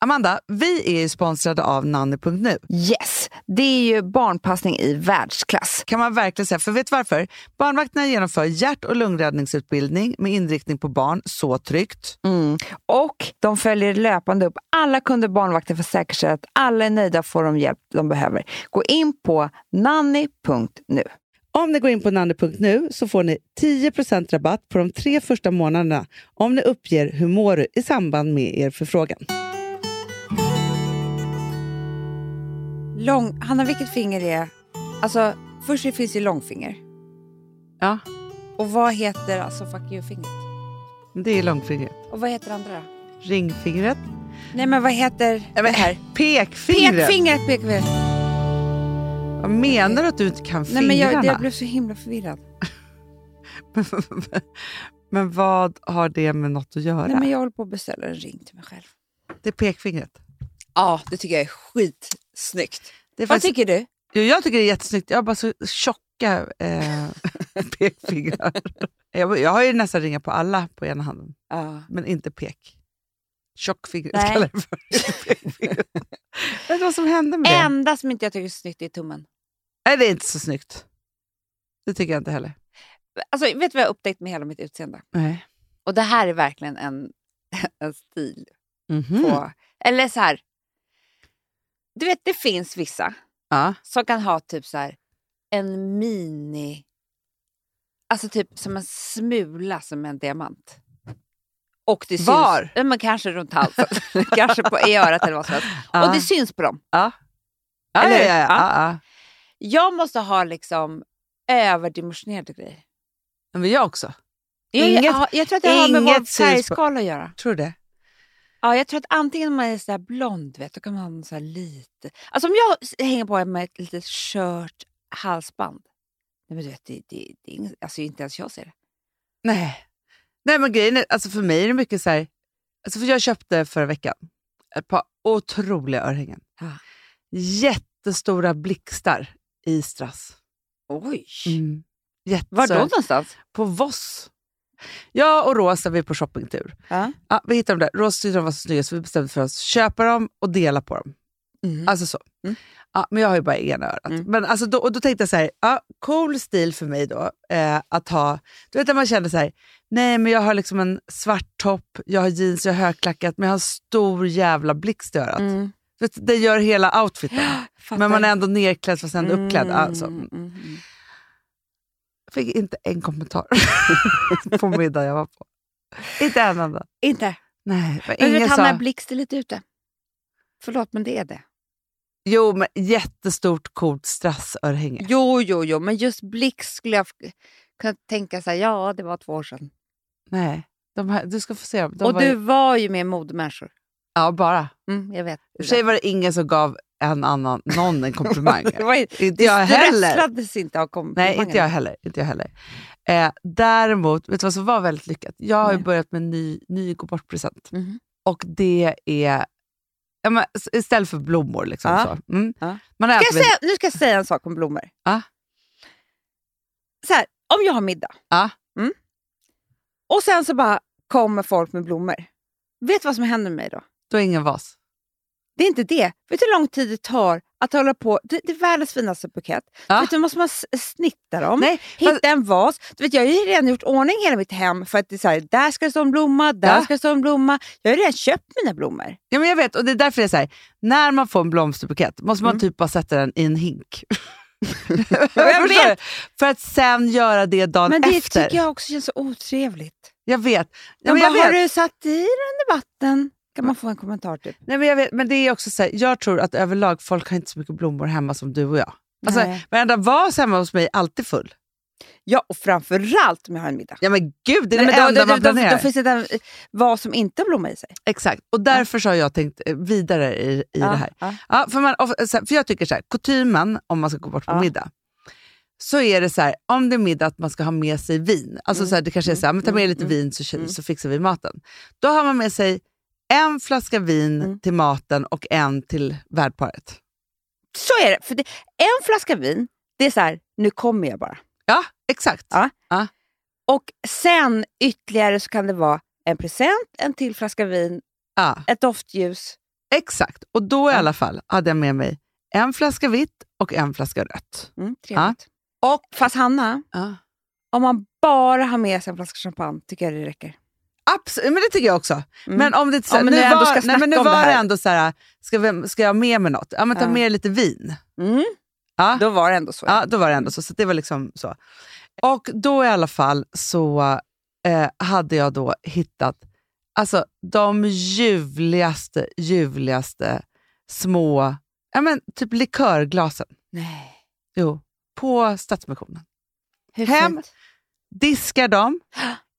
Amanda, vi är ju sponsrade av nanny.nu. Yes, det är ju barnpassning i världsklass. Kan man verkligen säga, för vet du varför? Barnvakterna genomför hjärt och lungräddningsutbildning med inriktning på barn, så tryggt. Mm. Och de följer löpande upp alla kunder barnvakten för att säkerställa att alla är nöjda och får de hjälp de behöver. Gå in på nanny.nu. Om ni går in på nanny.nu så får ni 10% rabatt på de tre första månaderna om ni uppger hur mår du i samband med er förfrågan. Lång, Hanna, vilket finger är... Alltså, först det finns ju långfinger. Ja, Och vad heter alltså fuck you-fingret? det är långfingret. Och vad heter andra då? Ringfingret. Nej, men vad heter... Nej, men här. Pekfingret. Pekfingret, pekfingret. Vad menar du att du inte kan Nej, fingrarna? men jag, jag blev så himla förvirrad. men vad har det med något att göra? Nej, men jag håller på att beställa en ring till mig själv. Det är pekfingret. Ja, det tycker jag är skitsnyggt. Det är Vad faktiskt... tycker du? Jo, jag tycker det är jättesnyggt. Jag har bara så tjocka eh, pekfingrar. jag, jag har ju nästan ringar på alla på ena handen, Ja. men inte pek. Tjockfingret Nej. kallar jag det för. Inte pekfingret. Jag vet inte vad som hände med det. enda som inte jag tycker är snyggt är tummen. Nej, det är inte så snyggt. Det tycker jag inte heller. Alltså, vet du vad jag har upptäckt med hela mitt utseende? Nej. Och det här är verkligen en, en stil Mhm. på... Eller så här... Du vet, det finns vissa Ja. som kan ha typ så här en mini... Alltså typ som en smula som en diamant. Och det syns, Var? Ja, Men kanske runt halsen, kanske på, i örat eller vad som helst. Ja. Och det syns på dem. Ja, eller- ja, ja, ja, ja. Jag måste ha liksom överdimensionerade grejer. ja. Men jag också. Jag, Inget- jag, jag tror att det har med inget vår syns på- färgskala att göra. Tror du det? Ja, jag tror att antingen man är så här blond, vet, då kan man ha så här lite... Alltså om jag s- hänger på med ett litet skört halsband. Nej, men du vet, det, det, det är inget, alltså inte ens jag ser det. Nej. Nej, men grejen är, alltså för mig är det mycket så här... Alltså för jag köpte förra veckan ett par otroliga örhängen. Ja. Jättestora blixtar i strass. Oj! Mm. Var då Jättestora. någonstans? På Voss. Jag och Rosa vi är på shoppingtur. Ja. Ja, vi hittade dem där. Rosa tyckte de var så snygga så vi bestämde för oss köpa dem och dela på dem. Mm. Alltså så. Mm. Ja, men jag har ju bara ena örat. Mm. Men alltså då, och då tänkte jag så här, ja, cool stil för mig då. Eh, att ha, du vet när man känner så här, nej men jag har liksom en svart topp, jag har jeans, jag har högklackat, men jag har en stor jävla blixt i örat. Mm. Vet, det gör hela outfiten. Fattar. men man är ändå nerklädd fast ändå uppklädd. Alltså, Mm, mm, mm. jag fick inte en kommentar på middagen jag var på. Inte en enda. Inte? Nej, men Men du ingen vet, sa... Hanna Blixt är lite ute. Förlåt, men det är det. Jo, men jättestort coolt strassörhänge. Jo, jo, jo, men just Blixt skulle jag f- kunna tänka så här, ja, det var två år sedan. Nej, de här, du ska få se dem. De Och var du ju, var ju med modemänniskor. ja, bara. Mm, jag vet. I och för sig var det ingen som gav en annan, någon en komplimang. Det var ju- inte jag heller. strösslades inte av komplimangen. Nej, inte jag heller. Inte jag heller. Eh, däremot, vet du vad som var väldigt lyckat? Jag har ju Nej. börjat med en ny, ny gå bort-present. Mhm. Och det är ja, men, s- istället för blommor. Liksom, Ja. så. Mm. Ja. Man har Ska alltid jag säga, nu ska jag säga en sak om blommor. Ja. Så här, om jag har middag Ja. mm, och sen så bara kommer folk med blommor. Vet du vad som händer med mig då? då är ingen vas. Det är inte det. Vet du hur lång tid det tar att hålla på? Det, det är världens finaste bukett. Ja. Vet du, måste man s- snitta dem, Nej, hitta en vas. Du vet, jag har ju redan gjort ordning hela mitt hem för att det är så här, där ska det stå en blomma, där Ja. ska det stå en blomma. Jag har ju redan köpt mina blommor. Ja, men jag vet, och det är därför det är så här, när man får en blomsterbukett måste man Mm. typ bara sätta den i en hink. Jag Förstår vet. du? För att sen göra det dagen Men det efter. tycker jag också känns så otrevligt. Jag vet. Ja, Ja, men jag vet. har du satt i den i vatten? Kan man få en kommentar typ? Nej, men jag vet. Men det är också så här, jag tror att överlag folk har inte så mycket blommor hemma som du och jag. Alltså, Nej. varenda vas hemma hos mig är alltid full. Ja, och framförallt om jag har en middag. Ja men gud, det är Nej, det men då- enda då, man då, då, planerar. då finns det en vad som inte blommar i sig. Exakt, och därför så har jag tänkt eh, vidare i, i ja, det här. Ja. Ja, för, man, of- så här, för jag tycker så här, kutymen om man ska gå bort på Ja. middag, så är det så här, om det är middag att man ska ha med sig vin. Alltså Mm, så här, det kanske är mm, så här, men ta med mm, lite mm, vin så, mm. så fixar vi maten. Då har man med sig en flaska vin Mm. till maten och en till värdparet. Så är det. För det. En flaska vin, det är så här, nu kommer jag bara. Ja, exakt. Ja. Och sen ytterligare så kan det vara en present, en till flaska vin, Ja. ett doftljus, Exakt, och då i Ja. alla fall hade jag med mig en flaska vitt och en flaska rött. Mm, trevligt. Och, Fast Hanna, om man bara har med sig en flaska champagne tycker jag det räcker. Absolut, men det tycker jag också. Mm. Men om det, så, Ja, men men nu när jag ändå var, ska nej, men nu snacka om det var det här. ändå så här, ska, vi, ska jag ha med mig något? Ja, men ta Ja. med lite vin. Mm, Ja. Då var det ändå så. Ah. Ja, då var det ändå så. Så det var liksom så. Och då i alla fall så eh, hade jag då hittat alltså, de ljuvligaste, ljuvligaste små, ja men typ likörglasen. Nej. Jo, på Stadsmissionen. Hur Hem. fint. Diskar dem,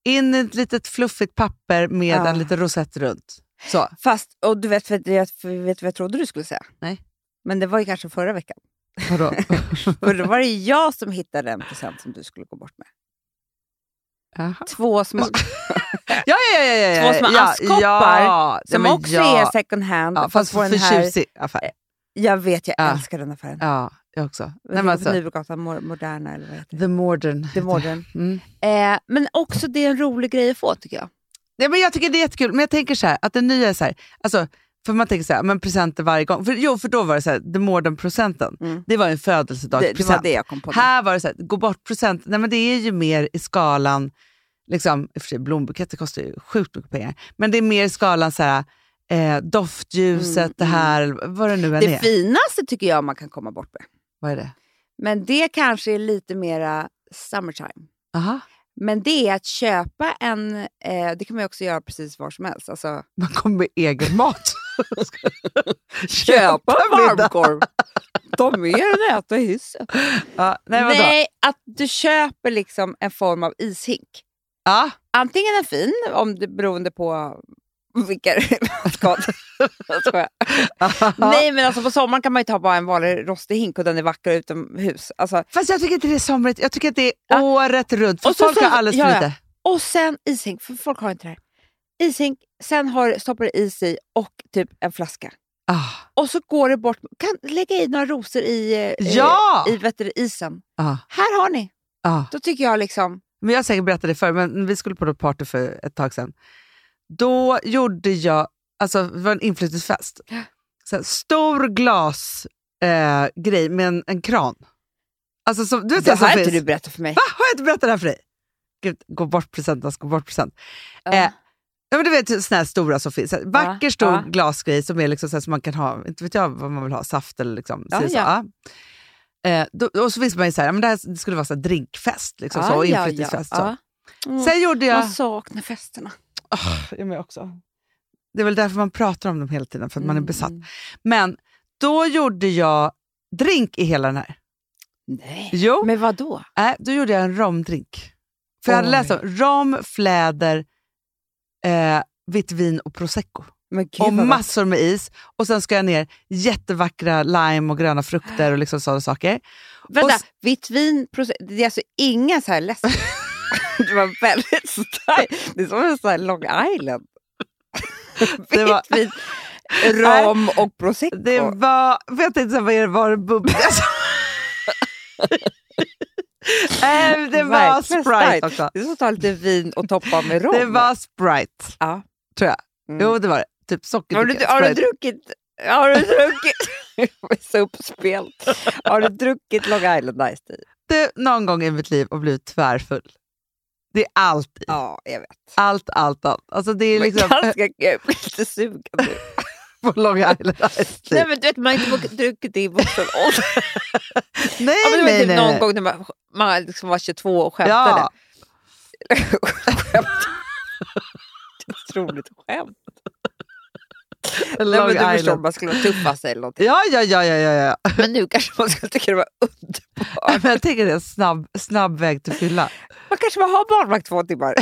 in i ett litet fluffigt papper med Ja. en liten rosett runt. Så. Fast, och du vet, för det, för vet du vad jag trodde du skulle säga? Nej. Men det var ju kanske förra veckan. Vadå? För då var det jag som hittade en present som du skulle gå bort med. Jaha. Två små, ja, ja, ja, ja, ja. Två små ja, askkoppar ja, ja, som men också ja. är second hand. Ja, fast på för den här, tjusig affär. jag vet, jag Ja. älskar den affären. Ja, jag också. Nej, Nej, men alltså, Nybrogatan Mo- Moderna eller vad heter the modern. det? The Modern. heter- Mm. Eh, men också det är en rolig grej att få tycker jag. Nej, men jag tycker det är jättekul, men jag tänker så här, att det nya är så här, alltså, för man tänker så här, men presenter varje gång. För, jo, för då var det så här, the modern-presenten, Mm. det var ju en Det, det födelsedagspresent. var det jag kom på. nu. Här var det så här, gå bort-present, nej men det är ju mer i skalan, liksom, i och för sig blombuketter kostar ju sjukt mycket pengar, men det är mer i skalan så här, eh, doftljuset, Mm, det här, vad det nu än det är. finaste tycker jag man kan komma bort med. Vad är det? Men det kanske är lite mera summertime. Aha. Men det är att köpa en, eh, det kan man ju också göra precis var som helst. Alltså, Man kommer med egen mat. köpa middag. varmkorv! Ta med den och äta i hissen. Ja, nej, Nej, vadå? att du köper liksom en form av ishink. Ja. Antingen en fin, om det, beroende på vilka skad. Jag skojar. Nej, men alltså på sommaren kan man ju ta bara en vanlig rostig hink och den är vacker utomhus. Alltså, Fast jag tycker inte det är somrigt. Jag tycker att det är Ja. året runt. För Och så- folk så- har alldeles för ja, ja. lite. och sen ishink, för folk har inte det här. Ishink, sen har, stoppar du is i och typ en flaska. Ah. Och så går det bort, kan lägga i några rosor i, eh, Ja! i vet du, isen. Ah, Här har ni! ah. Då tycker jag liksom, Men jag har säkert berättat det förr, men vi skulle på något party för ett tag sedan. Då gjorde jag, alltså det var en inflyttningsfest. Så här, stor glasgrej eh, grej med en, en kran. Alltså, som, du vet, det så som här har inte finns- du berättat för mig. Va? Har jag inte berättat det här för dig? Gud, gå bort present, alltså, gå bort present. Eh, Ja, men du vet såna här stora som finns. Så här, Vacker stor ja. glasgrej som är liksom så här, som man kan ha, inte vet jag vad man vill ha, saft eller liksom. Ja, si och så, ja. ja. Eh, då, och så finns man ju så här, ja, men det här det skulle vara så här drinkfest liksom, så, och inflyttningsfest. så. ja. Mm. Sen gjorde jag... Man saknar festerna. Åh, ja, men jag också. Det är väl därför man pratar om dem hela tiden, för att man är Mm. besatt. Men då gjorde jag drink i hela den här. Nej. Jo. Men vad då? Nej, då gjorde jag en romdrink. För jag hade Oj. läst om rom, fläder, eh, vitt vin och prosecco. Men gud, och vad gott. massor med is. Och sen ska jag ner jättevackra lime och gröna frukter och liksom sådana saker. Vänta, Och s- vitt vin, proce- det är alltså inga så här läsk. det var väldigt starkt. Det är som en sån här Long Island. Det vitt var- vin, rom och prosecco. Det var... För jag tänkte såhär, vad är det? Var det bubbel? Alltså. Nej, men Äh, det var Verkligen starkt. Sprite också. Det är som att ta lite vin och toppa med rom. Det var Sprite, Ja. tror jag. Mm. Jo, det var det. Typ har, du, sockerdricka. har du Sprite. druckit... Har du druckit... Jag är så uppspelt. Har du druckit Long Island Ice Tea? Du, någon gång i mitt liv och blivit tvärfull. Det är alltid. Ja, jag vet. Allt, allt, allt. Alltså det är Men liksom ganska, jag blir lite sugen nu. på Long Island Ice Nej, Tea. men du vet, man har inte vågat druckit det i vuxen ålder. Nej, Ja, men det var nej, typ nej. någon nej. gång när man, man liksom var 22 och skämtade. Ja, Otroligt skämt. Nej, Long men du förstår, Island. man skulle vara tuffast eller någonting. Ja, ja, ja, ja, ja, ja. Men nu kanske man skulle tycka det var underbart. Men jag tänker det är en snabb, snabb väg till fylla. Man kanske bara har barnvakt två timmar.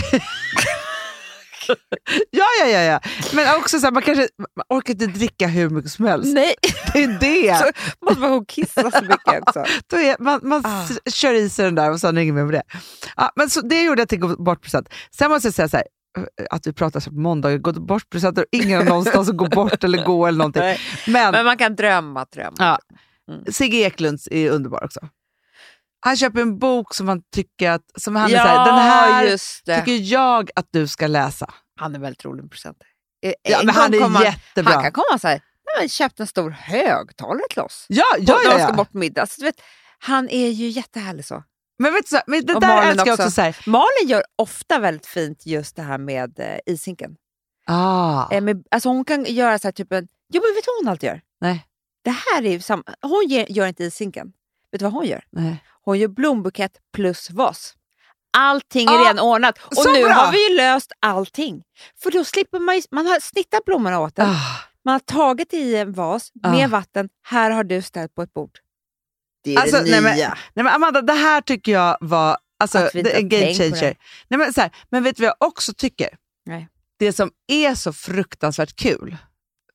Ja, ja, ja, ja. Men också så här, man kanske man orkar inte dricka hur mycket som helst. Nej, Det är det. Så- måste man gå och kissa så mycket också. Då är, man man Ah. s- kör i sig den där och sen ringer med det. Ja, men så det gjorde jag till gå bort present. Sen måste jag säga så här, eh, att vi pratar så här på måndagar, gå bort presenter och ingen någonstans att gå bort eller gå eller någonting. Nej, Men Men man kan drömma, drömma. Ja. Sigge Eklunds är underbar också. Han köper en bok som han tycker att, som han är såhär, den här just det. tycker jag att du ska läsa. Han är väldigt rolig med presenter. Ja, men han är jättebra. Eh, Han kan komma så här, men köpt en stor högtalare till oss. Ja, ja, När ja, de ska ja. bort på middag. Så, du vet, han är ju jättehärlig så. Men, vet du, så- men det Och där Malin älskar jag också. också. så här, Malin gör ofta väldigt fint just det här med eh, isinken. ah, Eh, med, alltså hon kan göra så här typ en... Jo, men vet du vad hon alltid gör? Nej. Det här är ju samma... Hon ger, gör inte isinken. Vet du vad hon gör? nej. Hon gör blombukett plus vas. Allting är Ah, renordnat. Och så nu bra! har vi ju löst allting. För då slipper man ju... Man har snittat blommorna åt en. Ah, Man har tagit i en vas Ah. med vatten. Här har du ställt på ett bord. Det är Alltså, nej, men- nej, men Amanda, det här tycker jag var alltså, Att vi inte det är en har game tänkt på det. changer. Nej, men, så här, men vet du vad jag också tycker? Nej. Det som är så fruktansvärt kul,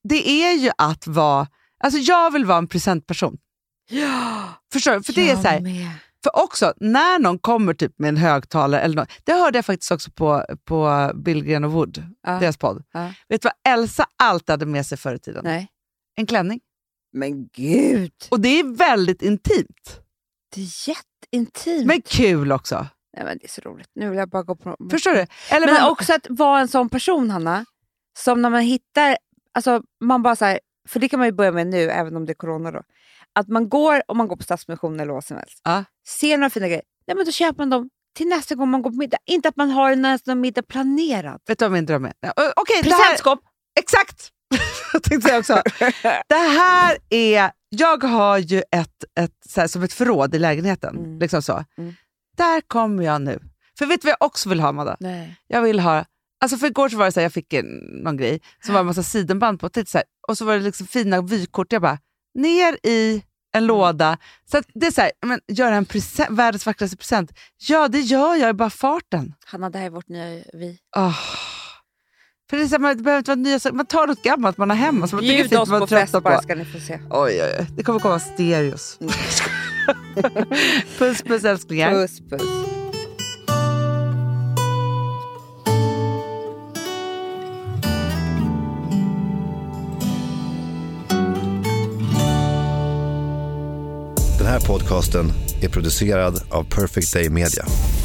det är ju att vara... Alltså jag vill vara en presentperson. Ja, Förstår du? För det är jag så här, med. För också, när någon kommer typ med en högtalare, eller något, det hörde jag faktiskt också på, på Billgren och Wood, Ja. deras podd. Ja. Vet du vad Elsa alltid hade med sig förr i tiden? Nej. En klänning. Men gud! Och det är väldigt intimt, Det är jätteintimt. men kul också. Nej, men det är så roligt. Nu vill jag bara gå på... Förstår du? Eller Men man- också att vara en sån person, Hanna, som när man hittar... Alltså, man bara så här, för det kan man ju börja med nu, även om det är corona. Då. Att man går, om man går på Stadsmissionen eller vad som helst, Ja. ser några fina grejer, nej, men då köper man dem till nästa gång man går på middag. Inte att man har nästa middag planerad. Vet du vad min dröm är? Ja, ö, Okej, det här, Presentskåp! exakt! jag tänkte säga också. Det här är, jag har ju ett, ett så här, som ett förråd i lägenheten. Mm. Liksom så. Mm. Där kommer jag nu. För vet du vad jag också vill ha, Amanda? Nej. jag vill ha... Alltså för igår så var det så här, jag fick en, någon grej som var en massa sidenband på. Titt, så här, och så var det liksom fina vykort. Jag bara, ner i en Mm. låda. Så att det är så här, men, göra en present, världens vackraste present. Ja, det gör jag i bara farten. Hanna, det här är vårt nya vi. Åh. För det, är så här, Ah. man, det behöver inte vara nya saker. Man tar något gammalt man har hemma som man tycker är Bjud fint oss som man på fest tröttnar på. bara, ska ni få se. Oj, oj, oj. Det kommer komma stereos. Mm. puss, puss älsklingar. Puss, puss. Den här podcasten är producerad av Perfect Day Media.